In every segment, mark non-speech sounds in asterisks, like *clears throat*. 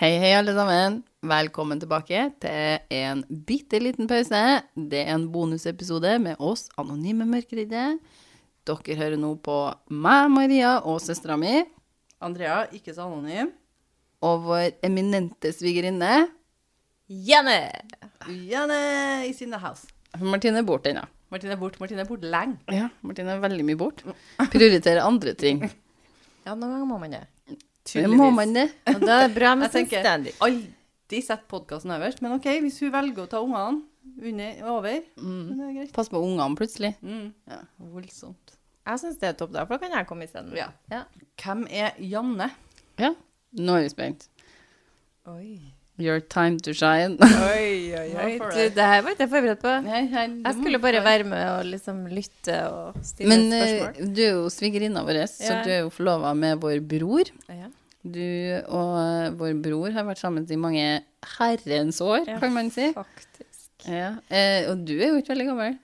Hei, hei, alle sammen. Velkommen tilbake til en bitte liten pause. Det er en bonusepisode med oss anonyme mørkeredde. Dere hører nå på meg, Maria, og søstera mi, Andrea, ikke så anonym. og vår eminente svigerinne. Jenny! Jenny is in the house. Hun Martine er borte ennå. Martin er borte. Martin er borte lenge. Ja, Martine er veldig mye borte. Prioriterer andre ting. Ja, noen ganger må man det. Det må man det. Og da er det bra med Jeg tenker selvstendig. alltid sett podkasten øverst, men OK, hvis hun velger å ta ungene under, over, Mm. men det er greit. Pass på ungene plutselig. Mm. Voldsomt. Jeg syns det er topp, da, for da kan jeg komme isteden. Ja. Ja. Hvem er Janne? Ja, nå er vi spent. Oi, Your time to shine. oi, oi. Nå får Du, jeg- det her var ikke jeg forberedt på. Nei, nei, det må Jeg skulle du bare ta. være med og liksom lytte og stille Men spørsmål. eh, du er jo svigerinna vår, så Ja. du er jo forlova med vår bror. Ja. Du og eh, vår bror har vært sammen i mange herrens år, Ja. kan man si. Faktisk. Ja. Eh, og du er jo ikke veldig gammel.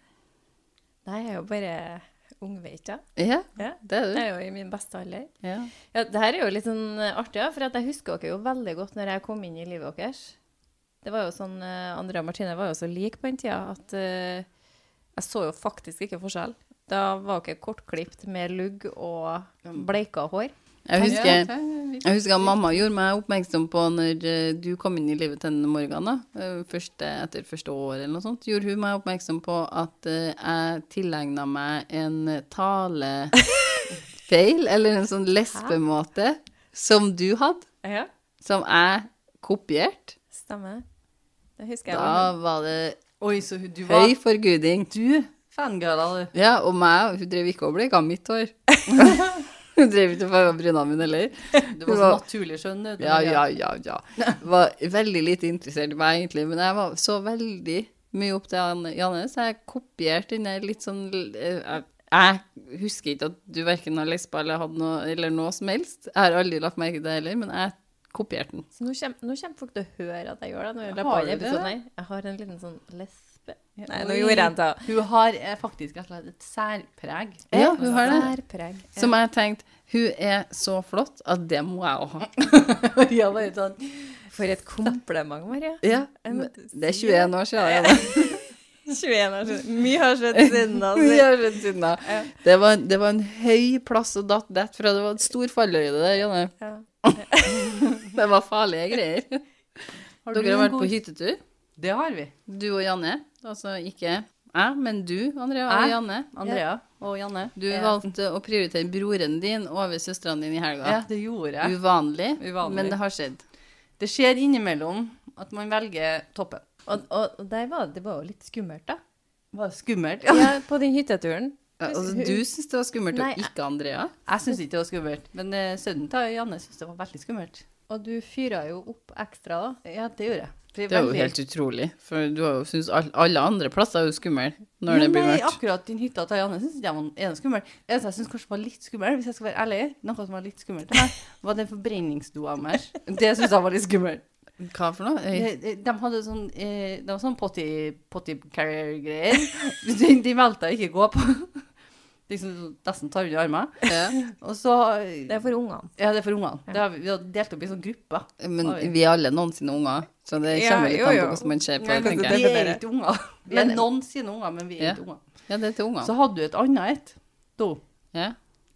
Nei, jeg er jo bare ungveita. Ja, Ja. det er Jeg du. er jo i min beste alder. Ja. Ja, det her er jo litt sånn eh, artig, ja, for at jeg husker dere jo veldig godt når jeg kom inn i livet deres. Det var jo sånn, eh, Andrea og Martine var jo så like på den tida at eh, jeg så jo faktisk ikke forskjell. Da var dere kortklipt med lugg og bleika hår. Jeg Ja, husker, ok, vi- jeg husker at mamma gjorde meg oppmerksom på når eh, du kom inn i livet til denne Morgan, da, eh, første, etter første år eller noe sånt, gjorde hun meg oppmerksom på at eh, jeg tilegna meg en talefeil, *laughs* eller en sånn lespemåte, som du hadde. Ja, som jeg kopierte, stemmer. Det husker jeg. da var det Oi, så hun- du var høy forguding. Du, fangirla, du. Ja, og meg, hun drev ikke og bleika mitt *laughs* hår. Hun drev ikke og farga brynene mine heller. Du Hun var så var- naturlig skjønn. du. Ja, ja, ja, ja. *laughs* Var veldig lite interessert i meg, egentlig, men jeg var så veldig mye opp til Jan- Janne, så jeg kopierte den der litt sånn eh, Jeg husker ikke at du verken har lespa eller hatt noe, eller noe som helst. Jeg har aldri lagt merke til det heller, men jeg kopierte den. Så nå kommer, nå kommer folk til å høre at jeg gjør det. Når jeg, la Har på du denne det? episoden her. jeg har en liten sånn lesbe... Nei, nå Oi. gjorde jeg en *laughs* til. Hun har eh, faktisk rett og slett et særpreg. Ja, hun har det. Særpreg. Som jeg tenkte, hun er så flott at det må jeg òg ha. *laughs* ja, bare sånn. For et kompliment, *laughs* Maria. Ja, Jeg men måtte det er si 21 år siden. Ja. 21 år siden. Mye har skjedd siden altså. da. *laughs* Vi har sett siden da. Det, var, det var en høy plass å datt dett fra. Det var en stor fallhøyde der, Janne. Ja. *laughs* Det var farlige greier. Har du Dere *laughs* har en vært på god- hyttetur, Det har vi. du og Janne. Altså ikke jeg, men du, Andrea og Jeg? Janne. Andrea og Janne. Du Ja. valgte å prioritere broren din over søstrene dine i helga. Ja, det gjorde jeg. Uvanlig, Uvanlig. men det har skjedd. Det skjer innimellom at man velger toppen. Og, og, og der var, det var jo litt skummelt, da. Var det skummelt? Ja, *laughs* på den hytteturen. Ja, Altså, du syns det var skummelt, Nei, og ikke Andrea. Jeg syns ikke det var skummelt, men eh, sønnen til Janne syntes det var veldig skummelt. Og du fyra jo opp ekstra, da. Ja, det gjorde jeg. For jeg Det er jo veldig- helt utrolig, for du har jo syntes all- alle andre plasser er jo skumle når det Men blir nei, mørkt. akkurat din hytta til Janne syns jeg var er skummel. Det eneste jeg syns kanskje var litt skummel, hvis jeg skal være ærlig, noe som var litt skummelt *laughs* til meg, var den forbrenningsdoa deres. Det syns jeg var litt skummelt. Hva for noe? De, de- de hadde sånn eh, Det var sånn potty, potty carrier-greier. *laughs* De, de meldte jeg ikke gå på. Liksom nesten tar under armene. Ja. Og så Det er for ungene. Ja, det er for ungene. Det har vi, vi har delt opp i sånne grupper. Men Oi. vi er alle noensinne unger, så det Ja, kommer litt jo, an på jo. hvordan man ser på Nei, Altså, det, men tenker jeg. Vi er definerer. ikke unger. *laughs* Vi er Men- noen sine unger, men vi er Ja. ikke unger. Ja, det er til ungene. Så hadde du et annet et. Do. Ja.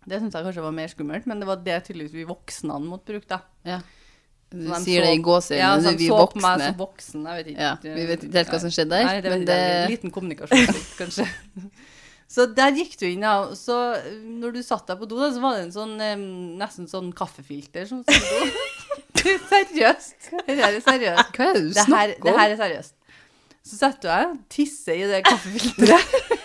Det syns jeg kanskje var mer skummelt, men det var det tydeligvis vi voksne måtte bruke, da. ja. Du Så de sier det i så- gåseøynene, Ja, du, så de vi så på meg voksne. som voksen, jeg vet ikke. Ja, vi vet ikke helt hva som skjedde der, Nei, det men vet jeg ikke. det- Liten kommunikasjon, *laughs* kanskje. Så der gikk du inn, ja. og Så eh, når du satt deg på do, da, så var det en sånn, eh, nesten sånn kaffefilter som satt på do. *laughs* seriøst. Det her er seriøst. Hva er det du Det her, snakker det om? her er seriøst. Så setter du deg, tisser i det kaffefilteret.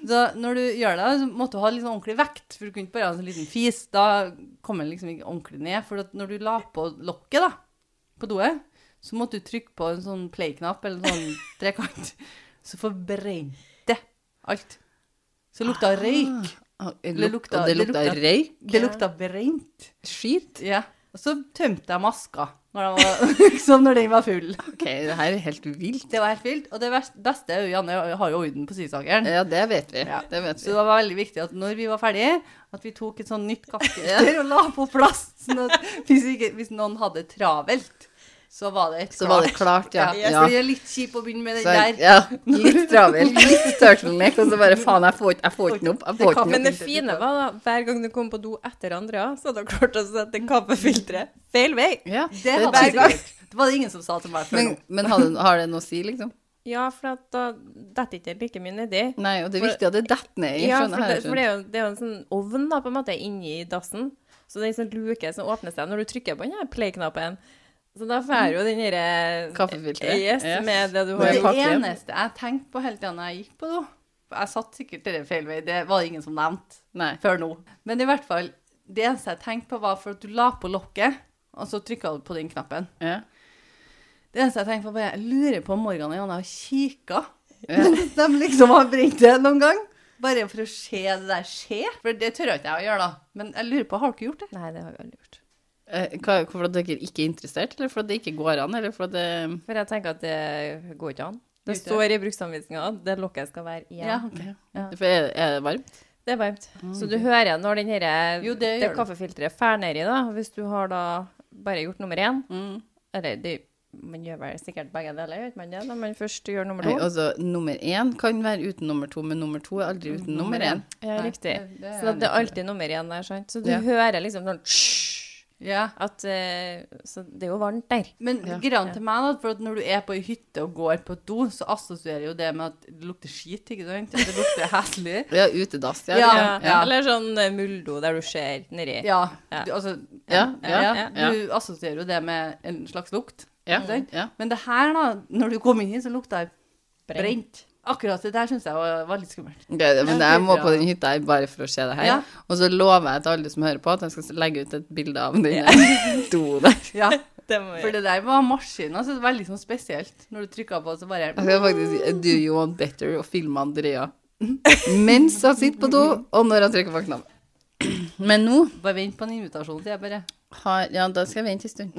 Så når du gjør det, så måtte du ha litt sånn ordentlig vekt, for du kunne ikke bare ha en sånn liten fis. Da kom den liksom ikke ordentlig ned. For at når du la på lokket da, på doet, så måtte du trykke på en sånn play-knapp eller en sånn trekant. Så forbrente alt. Så lukta røyk. Ah, det det luk- lukta- Og det det lukta lukta- røyk? Det lukta brent. Skit? Ja. Og så tømte jeg maska. Når, de var, *laughs* liksom når den var full. OK, det her er helt vilt. Det var helt vilt. Og det vers- beste er jo Janne har jo orden på sysakeren. Ja, det vet vi. Ja. Det vet Så vi. det var veldig viktig at når vi var ferdige, at vi tok et sånn nytt kaffekjøtter og la på plass. Sånn at hvis, ikke, hvis noen hadde travelt, så var det et Så var det klart, ja. Ja, Ja. Så det er litt kjipt å begynne med Så, det der. ja, litt travelt, litt turtleneck, og så bare faen, jeg får ikke jeg får ikke den opp. Jeg får ikke liksom. den Men det fine var da, hver gang du kom på do etter andre, så hadde du klart å sette kaffefilteret feil vei. opp. Ja, Det, er hadde hver vi tydelig. gang. sikkert. det var det ingen som sa til meg før Men, nå. men har, det, har det noe å si, liksom? Ja, for at da detter ikke det like mye nedi. Nei, og det er viktig at det detter ned. Jeg Ja, for, skjønner, det, her, for det, skjønner. er jo, det er jo en sånn ovn da, på en måte, inni dassen. Så det er en sånn luke som åpner seg når du trykker på den her play-knappen. Så da får jo den derre Kaffefilteret. Yes, Ja. med det du var Men har i det en pakke igjen. eneste jeg tenkte på hele tida når jeg gikk på do Jeg satt sikkert til det feil vei, det var det ingen som nevnte Nei. før nå. Men i hvert fall, det eneste jeg tenkte på, var for at du la på lokket, og så trykka du på den knappen. Ja. Det eneste jeg tenkte på, var jeg lurer på om Morgan og Janne har kikka. *laughs* Ja. De liksom har brent det noen gang. Bare for å se det der skje. For det tør jeg ikke jeg å gjøre, da. Men jeg lurer på, har dere gjort det? Nei, det har vi aldri gjort. Eh, hva- Hvorfor at dere ikke er interessert, eller for at det ikke går an, eller for at det For jeg tenker at det går ikke an. Det Ikke. står i bruksanvisninga at det lokket skal være igjen. ja. Ja. For er, er det varmt? Det er varmt. Så du hører når den her, Jo, det det, gjør det. kaffefilteret fer nedi, da. Hvis du har da bare gjort nummer én, Mm. eller det, man gjør vel sikkert begge deler, gjør man det? Når man først gjør nummer Nei, to. altså, nummer én kan være uten nummer to, men nummer to er aldri uten nummer én. Ja, Nei, riktig. det- det er så at det er litt- alltid nummer igjen der, sant. Så du Ja. hører liksom sånn «tsj», Ja. at eh, Så det er jo varmt der. Men Ja. greia til meg, da, for at når du er på ei hytte og går på et do, så assosierer jo det med at det lukter skit, ikke sant? Det lukter *laughs* heslig. Ja, utedass. Ja, Ja. ja. ja. Eller sånn eh, muldo der du ser nedi. Ja. Ja. Du, altså, Ja, ja, ja. Du assosierer jo det med en slags lukt. ja. ikke sant? ja. Men det her, da, når du kom inn hit, så lukta det brent. Brent. Akkurat det der syns jeg var, var litt skummelt. Ok, men Ja, jeg må bra. på den hytta her bare for å se det her. Ja. Og så lover jeg til alle som hører på, at jeg skal legge ut et bilde av *laughs* den der do der. *laughs* Ja, Det må vi *laughs* For det der var maskin, altså. Det var litt sånn spesielt. Når du trykka på, så bare Jeg skal faktisk si Do you want better? og filme Andrea mens hun sitter på do, og når hun trykker på knappen. Men nå Bare vent på en invitasjon, sier jeg bare. har Ja, da skal jeg vente en *laughs* stund.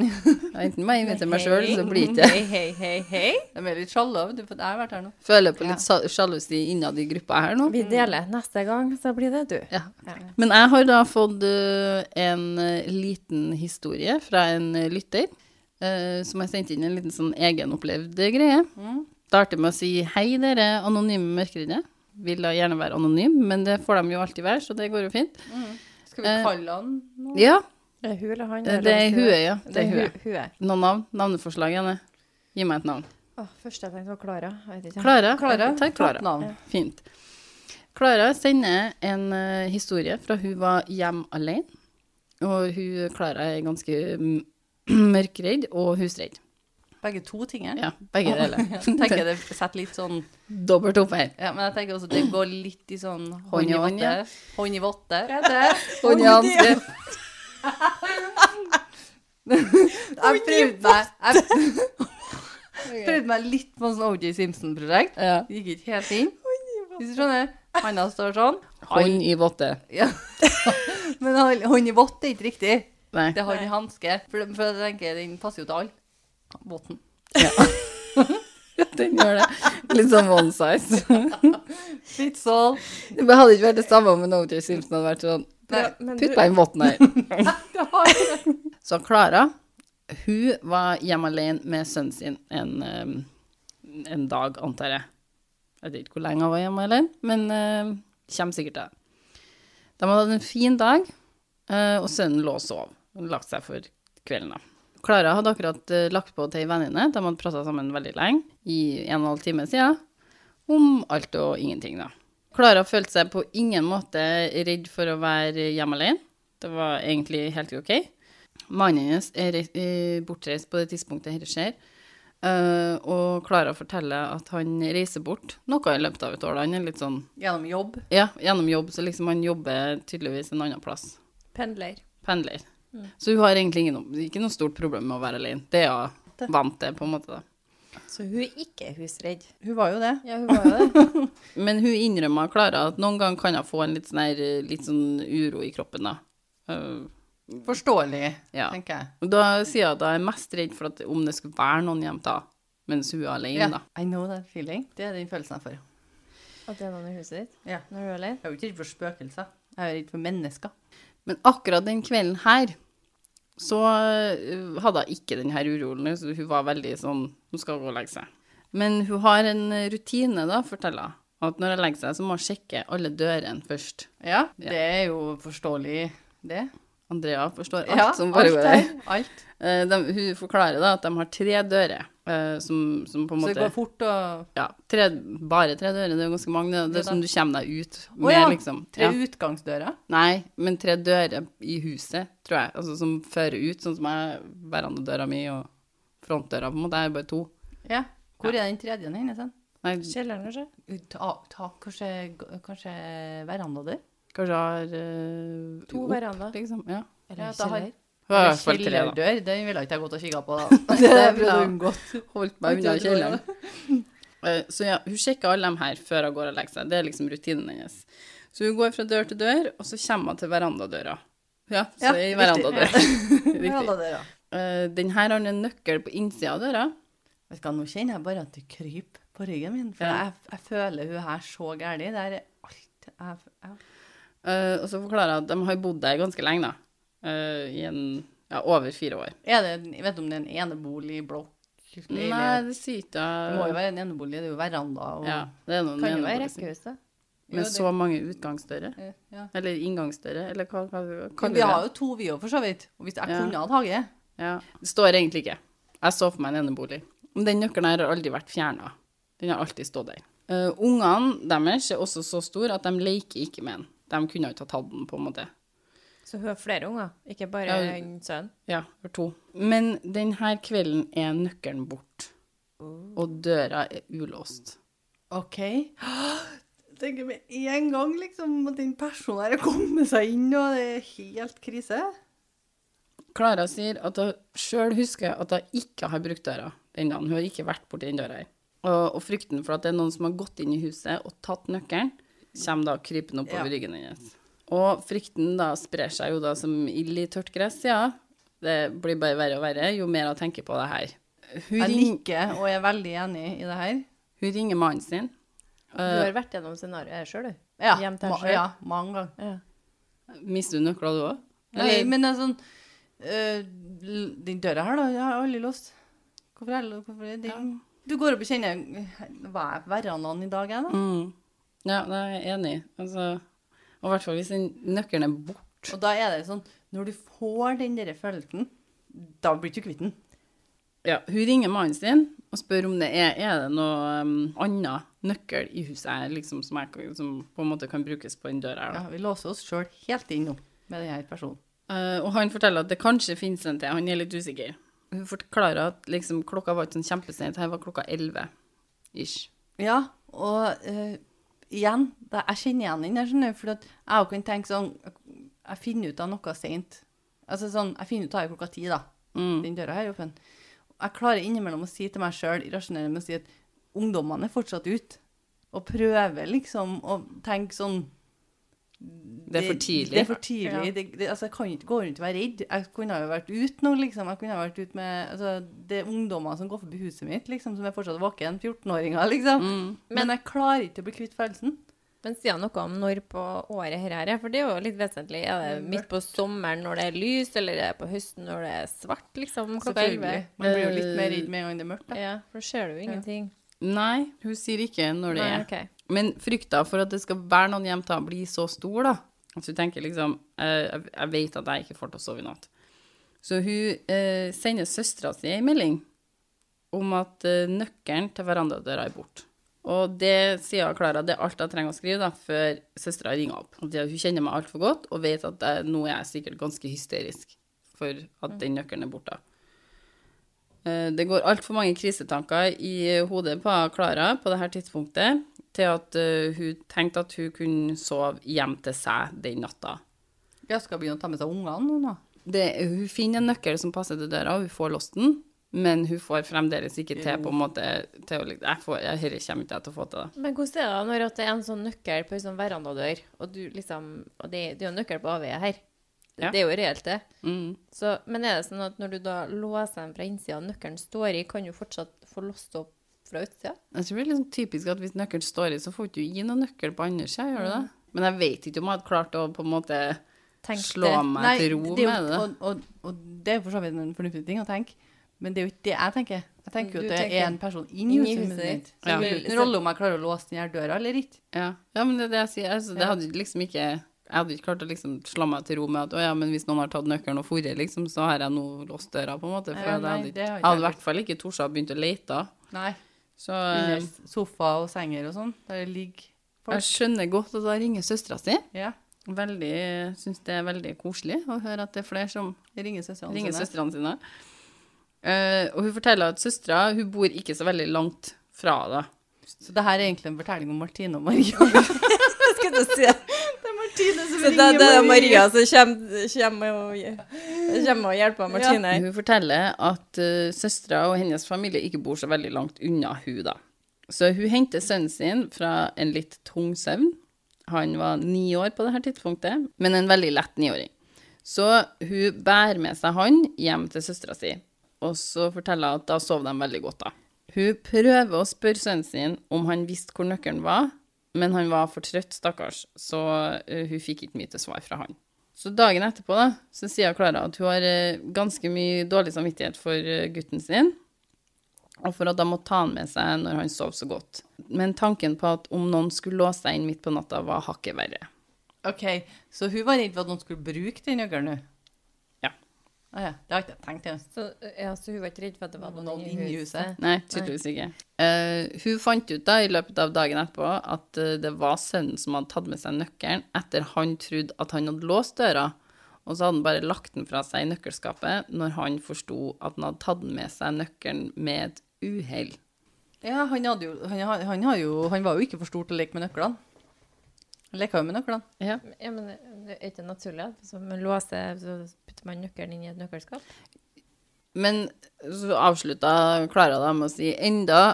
Enten må jeg invitere meg sjøl, så blir det ikke Hei, hei, hei, hei. De er litt sjalu, vet du, for jeg har vært her nå. Føler på litt sal- sjalusi innad i gruppa her nå. Vi deler. Neste gang så blir det du. Ja. Men jeg har da fått ø, en ø, liten historie fra en ø, lytter, ø, som har sendt inn en liten sånn egenopplevd greie. Starter med å si hei, dere anonyme mørkeredde. Vil da gjerne være anonym, men det får de jo alltid være, så det går jo fint. Skal vi Eh, kalle han nå? Ja, Det er hun eller han? Eh, det er huet, ja. Det er huet. hu- huet. Noen navn? Navneforslag, Janne? Gi meg et navn. Å, første jeg tenkte var Klara. Jeg vet ikke. Klara? Klara? Takk, Klara. Topp navn. Fint. Klara sender en eh, historie fra hun var hjem alene. Og hun Klara er ganske mm, *clears throat* mørkredd og husredd. Begge to ting her. Ja, begge *laughs* deler. tenker jeg det setter litt sånn Dobbelt opp her. ja, Men jeg tenker også det går litt i sånn Hånd i hånd i hånd, votte. ja. Hånd i votte. Hånd i hanske. *laughs* Jeg prøvde meg jeg prøvde meg litt på en sånn OJ Simpson-prosjekt. Ja. Det Gikk ikke helt inn. Hvis du skjønner. Handa står sånn. Hånd i votte. Ja. *laughs* Men hånd- hånd i votte er ikke riktig. Nei. Det er hånd i hanske. For, for jeg tenker den passer jo til alle. Votten. *laughs* Den gjør det. Litt sånn one size. Litt *laughs* sånn. Det hadde ikke vært det samme om en OJ Simpson hadde vært sånn Nei, men Putt du- meg i votten her. det har jeg. Så Klara, hun var hjemme alene med sønnen sin en, eh, en dag, antar jeg. Jeg vet ikke hvor lenge hun var hjemme alene, men uh, kommer sikkert til det. De hadde hatt en fin dag, eh, og sønnen lå og sov. Han lagt seg for kvelden, da. Klara hadde akkurat eh, lagt på til ei venninne, de hadde prata sammen veldig lenge, i en og en halv time siden, om alt og ingenting, da. Klara følte seg på ingen måte redd for å være hjemme alene. Det var egentlig helt ok. Mannen hennes er reist- eh, bortreist på det tidspunktet dette skjer, eh, og Klara forteller at han reiser bort noe i løpet av et år. da. Han er litt sånn Gjennom jobb. Ja, gjennom jobb, så liksom han jobber tydeligvis en annen plass. Pendler. Pendler. Mm. Så hun har egentlig ingen, ikke noe stort problem med å være alene. Det er hun vant til, på en måte. da. Så hun er ikke husredd. Hun var jo det. Ja, hun var jo *laughs* det. Men hun innrømmer Klara at noen ganger kan hun få en litt sånn, her, eh, litt sånn uro i kroppen, da. Eh, Forståelig, Ja. tenker jeg. Og Da sier jeg at jeg er mest redd for at om det skulle være noen hjemme da, mens hun er alene, Ja. da. I know that feeling. Det er den følelsen jeg får. At det er noen i huset ditt Ja. når du er alene? Jeg er jo ikke redd for spøkelser. Jeg er redd for mennesker. Men akkurat den kvelden her, så øh, hadde hun ikke den her uroen. Så hun var veldig sånn Hun skal gå og legge seg. Men hun har en rutine, da, forteller hun. At når hun legger seg, så må hun sjekke alle dørene først. Ja, det er jo forståelig, det. Andrea forstår alt Ja, som foregår her. Alt. Eh, De, hun forklarer da at de har tre dører eh, som, som på en Så det måte går fort og ja, tre, Bare tre dører, det er jo ganske mange. Det, det Ja er da. som du kommer deg ut med, ja, liksom. Tre ja. utgangsdører. Nei, men tre dører i huset, tror jeg. Altså som fører ut, sånn som jeg verandadøra mi og frontdøra, på en måte. Jeg har bare to. Ja. Hvor er den tredje hennes? hen? Nei, Kjelleren, kanskje? Ta, ta, kanskje kanskje verandadør? kanskje jeg har eh, To opp, veranda. liksom. Ja. Eller Ja, da har- kjeller? *laughs* Hun har i hvert fall tre, da. Kjellerdør, den ville jeg ikke ha gått og kikka på, da. *laughs* Det er ville jeg bra. unngått. *laughs* Holdt meg unna kjelleren. *laughs* Eh, Så ja, hun sjekker alle dem her før hun går og legger seg. Det er liksom rutinen hennes. Så hun går fra dør til dør, og så kommer hun til verandadøra. Ja, så Ja, i riktig. *laughs* verandadøra. Riktig. Verandadøra. Eh, Den her har en nøkkel på innsida av døra. Vet du hva, Nå kjenner jeg bare at det kryper på ryggen min. For Ja. jeg, jeg føler hun her så gæli. Det er alt jeg, jeg Eh, og så forklarer jeg at de har bodd der ganske lenge, da. Eh, I en ja, over fire år. Er det, en- jeg vet du om det er en eneboligblokk? Nei, leilighet? det sier ikke Det må jo være en enebolig, det er jo veranda og Ja, det er noen Kan jo være enebolig, sikkert. rekkehus, da. Med så mange utgangsdører. Eh, ja. Eller inngangsdører, eller hva, hva, hva Men kaller vi vi har det? jo to, vi òg, for så vidt. Og hvis jeg Ja. kunne hatt hage Ja. Det står egentlig ikke. Jeg så for meg en enebolig. Men den nøkkelen her har aldri vært fjerna. Den har alltid stått der. Eh, Ungene deres er også så store at de leker ikke med den. De kunne ikke ha tatt den, på en måte. Så hun har flere unger, ikke bare Ja, en sønn. Ja, for to. Men denne kvelden er nøkkelen bort, og døra er ulåst. OK. *gasps* Tenker med en gang liksom at den personen her har kommet seg inn, og det er helt krise. Klara sier at hun sjøl husker at hun ikke har brukt døra den dagen. Hun har ikke vært borti den døra her. Og, og frykten for at det er noen som har gått inn i huset og tatt nøkkelen, kommer da krypende oppover Ja. ryggen hennes. Og frykten da sprer seg jo da som ild i tørt gress, ja. Det blir bare verre og verre jo mer hun tenker på det her. Hun, Jeg ring, nikker og er veldig enig i det her. hun ringer mannen sin. eh, Du har vært gjennom scenarioet sjøl, du. Ja, Hjem til ma deg selv. ja mange ganger. Ja. Mister du nøkla, du òg? Nei, men det er sånn øh, l- Den døra her, da, jeg har aldri låst. Hvorfor er det hvorfor er den? Du går opp og kjenner eh, Hva er verandaen i dag, jeg, da? Mm. Ja, det er jeg enig i. Altså, og i hvert fall hvis den nøkkelen er borte. Og da er det sånn Når du får den der følelsen, da blir du ikke kvitt den. Ja, hun ringer mannen sin og spør om det er, er det noe um, annet nøkkel i huset her, liksom, som, jeg, kan- som på en måte kan brukes på den døra her. da. Ja, vi låser oss sjøl helt inn nå med denne personen. Eh, og han forteller at det kanskje finnes en til, han er litt usikker. Hun forklarer at liksom, klokka var ikke sånn kjempesent, her var klokka 11 ish. Ja, og eh, igjen, da, jeg kjenner igjen den der, skjønner du, for at jeg også kan tenke sånn, jeg finner ut av noe sent. Altså sånn, jeg finner ut av det klokka ti da. Mm. Den døra her er åpen. Jeg klarer innimellom å si til meg selv, irrasjonere med å si at ungdommene er fortsatt ut, og prøver liksom å tenke sånn, Det er for tidlig. Det, er for tidlig. Ja. Det, det, altså, jeg kan ikke gå rundt og være redd. Jeg kunne ha jo vært ute nå, liksom. Jeg kunne ha vært ute med altså, Det er ungdommer som går forbi huset mitt, liksom, som er fortsatt våken. 14-åringer, liksom. Mm. Men, jeg klarer ikke å bli kvitt følelsen. Men sier han noe om når på året her er, for det er jo litt vesentlig. Er det midt på sommeren når det er lys, eller er det på høsten når det er svart, liksom, klokka elleve? Selvfølgelig. Man blir jo litt Eh, mer redd med en gang det er mørkt. Da. Ja, for da ser du jo ingenting. Nei, hun sier ikke når det Nei, er. ok. Men frykta for at det skal være noen hjem til han blir så stor, da. At hun tenker liksom eh, Jeg jeg vet at jeg ikke får til å sove i natt. Så hun eh, sender søstera si en melding om at eh, nøkkelen til verandadøra er borte. Og det sier hun Klara, det er alt jeg trenger å skrive da, før søstera ringer opp. At hun kjenner meg altfor godt og vet at jeg, nå er jeg sikkert ganske hysterisk for at den nøkkelen er borte. Eh, Det går altfor mange krisetanker i eh, hodet på Klara på dette tidspunktet til at eh, hun tenkte at hun kunne sove hjem til seg den natta. Jeg skal begynne å ta med seg ungene nå, nå. Det, hun finner en nøkkel som passer til døra, og hun får låst den, men hun får fremdeles ikke til på en måte til å liksom- jeg får, jeg, Dette kommer ikke jeg til å få til, da. Men hvordan er det når at det er en sånn nøkkel på en sånn verandadør, og du liksom Og det, det er jo en nøkkel på avveie her. Ja. Det er jo reelt, det. Mm. Så, men er det sånn at når du da låser den fra innsida, og nøkkelen står i, kan du fortsatt få låst opp fra utsida? Jeg tror det er litt sånn typisk at hvis nøkkelen står i, så får du ikke gi noen nøkkel på andre sida, gjør du det? Men jeg vet ikke om jeg hadde klart å på en måte Tenk slå det. meg Nei, til ro det er jo- med det. Og, og, og det er jo for så vidt en fornuftig ting å tenke, men det er jo ikke det jeg tenker. Jeg tenker jo Du at det tenker er en person inni inni huset huset mitt. ditt. Så Ja. det spiller ingen rolle om jeg klarer å låse den her døra eller ikke. Ja. ja, men det er det jeg sier. Altså, det Ja. hadde liksom ikke Jeg hadde ikke klart å liksom slå meg til ro med at å ja, men hvis noen har tatt nøkkelen og forret, liksom, så har jeg nå låst døra, på en måte. For Ja, jeg nei, hadde, det ikke, jeg har ikke hadde i jeg hvert fall ikke tort å begynne å lete. Nei. Så eh, Under sofa og senger og sånn, der det ligger folk. jeg skjønner godt at da ringer søstera si. Ja. Veldig, Syns det er veldig koselig å høre at det er flere som Det ringer søstrene ringer sine. søstrene sine. Eh, og hun forteller at søstera hun bor ikke så veldig langt fra det. Så det her er egentlig en fortelling om Martine og Maria. Skal du si det? det er Martine som Det er det Maria som kommer, kommer, og, kommer og hjelper Martine. Hun forteller at uh, søstera og hennes familie ikke bor så veldig langt unna hun da. Så hun henter sønnen sin fra en litt tung søvn. Han var ni år på dette tidspunktet, men en veldig lett niåring. Så hun bærer med seg han hjem til søstera si, og så forteller hun at da sov de veldig godt da. Hun prøver å spørre sønnen sin om han visste hvor nøkkelen var, men han var for trøtt, stakkars, så eh, hun fikk ikke mye til svar fra han. Så dagen etterpå da, så sier Klara at hun har eh, ganske mye dårlig samvittighet for eh, gutten sin, og for at han måtte ta han med seg når han sov så godt. Men tanken på at om noen skulle låse seg inn midt på natta, var hakket verre. Ok, så hun var redd for at noen skulle bruke den nøkkelen nå? Ja. Ah, ja. Det har ikke jeg tenkt engang. Så, eh, ja, så hun var ikke redd for at det var noen, inni huset? Nei, tydeligvis ikke. Eh, hun fant ut da i løpet av dagen etterpå at eh, det var sønnen som hadde tatt med seg nøkkelen etter han trodde at han hadde låst døra, og så hadde han bare lagt den fra seg i nøkkelskapet når han forsto at han hadde tatt med seg nøkkelen med et uhell. Ja, han, hadde jo, han, han, han, har jo, han var jo ikke for stor til å leke med nøklene. Han leka jo med nøklene. Ja. Ja, men eh, det er ikke naturlig at hvis man låser, så putter man nøkkelen inn i et nøkkelskap? Men så avslutta Klara da med å si enda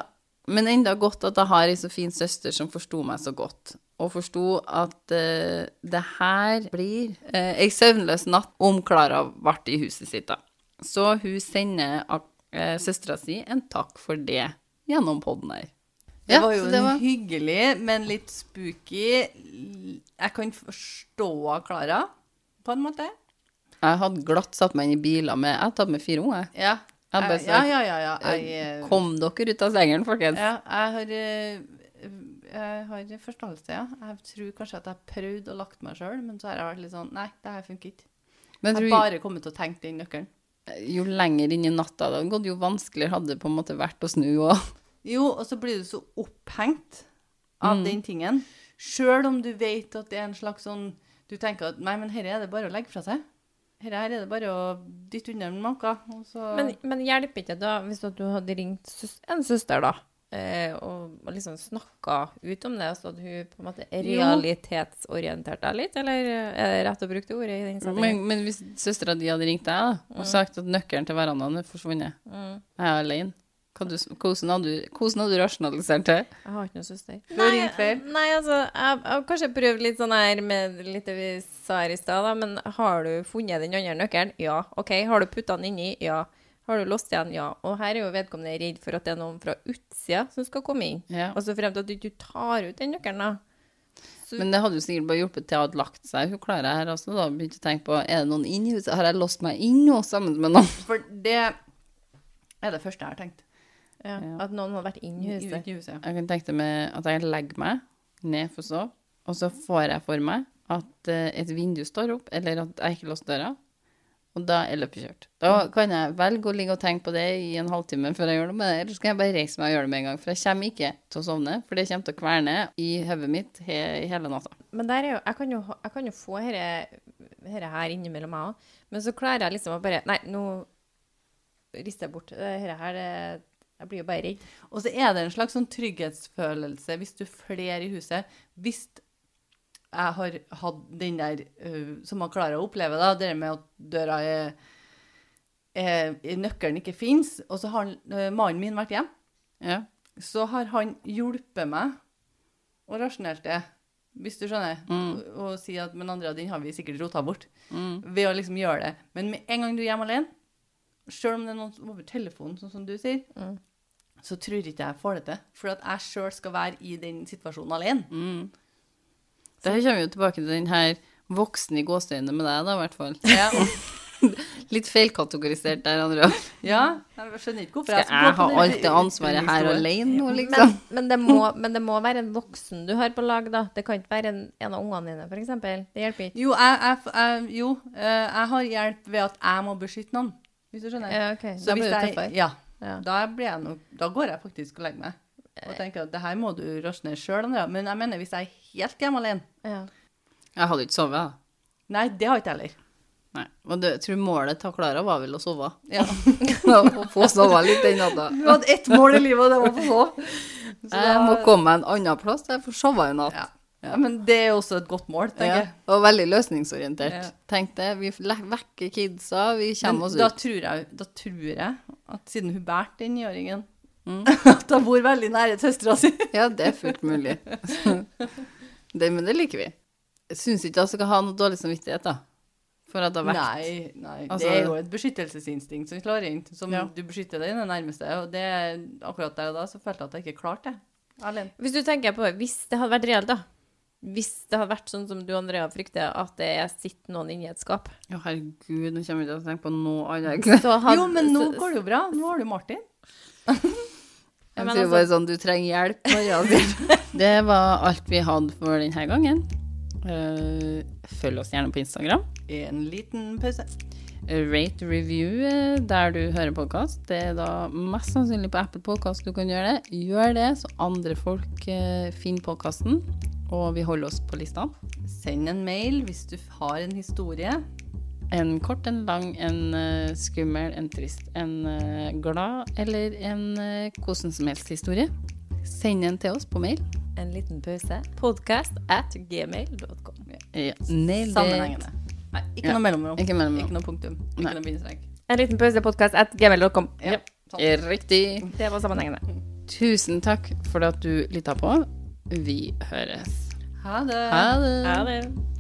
Men enda godt at jeg har ei så fin søster som forsto meg så godt. Og forsto at eh, det her blir uh, ei søvnløs natt om Klara ble i huset sitt, da. Så hun sender uh, søstera si en takk for det gjennom poden her. Det Ja, var jo så det en var- hyggelig, men litt spooky Jeg kan forstå Klara, på en måte. Jeg hadde glatt satt meg inn i biler med Jeg hadde tatt med fire unger. Ja. Jeg bare Jeg, ja, ja, ja, ja. Jeg, eh, Kom dere ut av sengen, folkens. ja, jeg har eh, jeg har forståelse, ja. Jeg tror kanskje at jeg har prøvd å lagt meg sjøl, men så har jeg vært litt sånn Nei, det her funker ikke. Men Jeg har tror- bare kommet til å tenke den nøkkelen. jo lenger inn i natta det hadde gått, jo vanskeligere hadde det på en måte vært å snu òg. Jo, og så blir du så opphengt av den tingen. Sjøl om du vet at det er en slags sånn Du tenker at nei, men herre er det bare å legge fra seg. Herre her er det bare å dytte unna med noe. Og så Men, men hjelper ikke det da hvis at du hadde ringt søs en søster, da? eh, Og, og liksom snakka ut om det, så at hun på en måte realitetsorienterte deg litt? Eller er det rett å bruke det ordet i den Men, settingen? men hvis søstera di hadde ringt deg da, og sagt at nøkkelen til verandaen er forsvunnet, jeg er alene, hva du- hvordan hadde du, hvordan hadde du rasjonalisert det? Jeg har ikke noen søster. Du har ringt feil. Nei, altså, jeg, jeg har kanskje prøvd litt sånn her med litt det vi sa her i stad, da, men har du funnet den andre nøkkelen? Ja. OK. Har du putta den inni? Ja. Har du låst igjen? Ja. Og her er jo vedkommende redd for at det er noen fra utsida som skal komme inn. Ja. Og så frem til at du ikke tar ut den nøkkelen, da. Men det hadde jo sikkert bare hjulpet til å ha lagt seg. Hun klarer her også da, begynte å tenke på, er det noen inn i huset? Har jeg låst meg inn nå sammen med noen? For det er det første jeg har tenkt. Ja. Ja. At noen hadde vært inne i huset. I huset. Jeg kan tenke meg at jeg legger meg ned for å sove, og så får jeg for meg at eh, et vindu står opp, eller at jeg ikke låser døra, og da er løpet kjørt. Da kan jeg velge å ligge og tenke på det i en halvtime før jeg gjør noe med det, eller så kan jeg bare reise meg og gjøre det med en gang, for jeg kommer ikke til å sovne, for det kommer til å kverne i hodet mitt he i hele natta. Men der er jo, jeg, kan jo, ha- jeg kan jo få dette her innimellom meg òg, men så klarer jeg liksom å bare Nei, nå rister jeg bort dette her. Det, jeg blir jo bare redd. Og så er det en slags sånn trygghetsfølelse hvis du er flere i huset. Hvis jeg har hatt den der øh, som man klarer å oppleve, da, det med at døra er, er Nøkkelen ikke fins, og så har øh, mannen min vært hjemme, Ja. så har han hjulpet meg og rasjonelt det. hvis du skjønner, Mm. og, og si at men Andrea, den har vi sikkert rota bort, ved å liksom gjøre det. Men med en gang du er hjemme alene, selv om det er noen som over telefonen, sånn som du sier, så tror ikke jeg får det til. For at jeg selv skal være i den situasjonen alene. Der mm. kommer vi jo tilbake til den her voksne i gåseøynene med deg, da, i hvert fall. Ja, og, Litt feilkategorisert der, Andrea. ja jeg skjønner ikke hvorfor Skal jeg ha alt det ansvaret her alene? alene nå, liksom? Men, men, det må, men det må være en voksen du har på lag, da. Det kan ikke være en, en av ungene dine, f.eks. Det hjelper ikke. Jo, jeg, jeg, jeg, jo eh, jeg har hjelp ved at jeg må beskytte noen, hvis du skjønner. Ja, ok. Så Da hvis blir det jeg- tøffere. Ja, Ja. da, blir jeg nok, da går jeg faktisk og legger meg. Og tenker at det her må du rasjonere sjøl, Andrea. Men jeg mener hvis jeg er helt hjemme alene Ja. Jeg hadde jo ikke sovet, da. Nei, det har ikke jeg heller. Nei. Og det, jeg tror målet til Klara var vel å *laughs* sove. Ja. Å få sove litt den natta. Du hadde ett mål i livet, og det var å få sove. Så Jeg må da- komme meg en annen plass der jeg får sove en natt. Eh, Ja. ja, men det er også et godt mål, tenker Ja, jeg. og veldig løsningsorientert. Ja. Tenk det. Vi le- vekker kidsa, vi Men kommer oss da ut. tror jeg, da tror jeg at siden hun bærte den niåringen mm. *laughs* At hun bor veldig nære søstera si. Ja, det er fullt mulig. *laughs* det, men det liker vi. Jeg syns ikke jeg skal ha noe dårlig samvittighet, da. For at jeg har vært Nei, nei. Altså- det er jo et beskyttelsesinstinkt som slår inn. Som Ja. du beskytter deg i det nærmeste. Og det, akkurat der og da så følte jeg at jeg ikke klarte det. Alene. Hvis du tenker på Hvis det hadde vært reelt, da. Hvis det hadde vært sånn som du, Andrea, frykter, at det sitter noen inni et skap. Å, herregud, nå kommer jeg ikke til å tenke på noe annet. Så *laughs* hadde, Jo, men nå så- går det jo bra. Nå har du Martin. Jeg men tror altså- bare sånn Du trenger hjelp. Maria, sier. *laughs* det var alt vi hadde for denne gangen. Eh, Følg oss gjerne på Instagram. Eh, En liten pause. Rate review eh, der du hører podkast. Det er da mest sannsynlig på Apple Podkast du kan gjøre det. Gjør det, så andre folk eh, finner podkasten. Og vi holder oss på listene. Send en mail hvis du har en historie. En kort, en lang, en eh, skummel, en trist, en eh, glad eller en eh, hvordan som helst historie. Send den til oss på mail. En liten pause. Podcast at gmail.com. Ja, nail it. Sammenhengende. Nei, ikke Ja. noe mellomrom. Ikke mellom. Ikke noe punktum. Ikke Nei. noe bindestrek. En liten pause. Podcast at gmail.com. Ja. sant. Riktig. Det var sammenhengende. Tusen takk for at du lytta på. Vi høres. Ha det. Ha det. Ha det.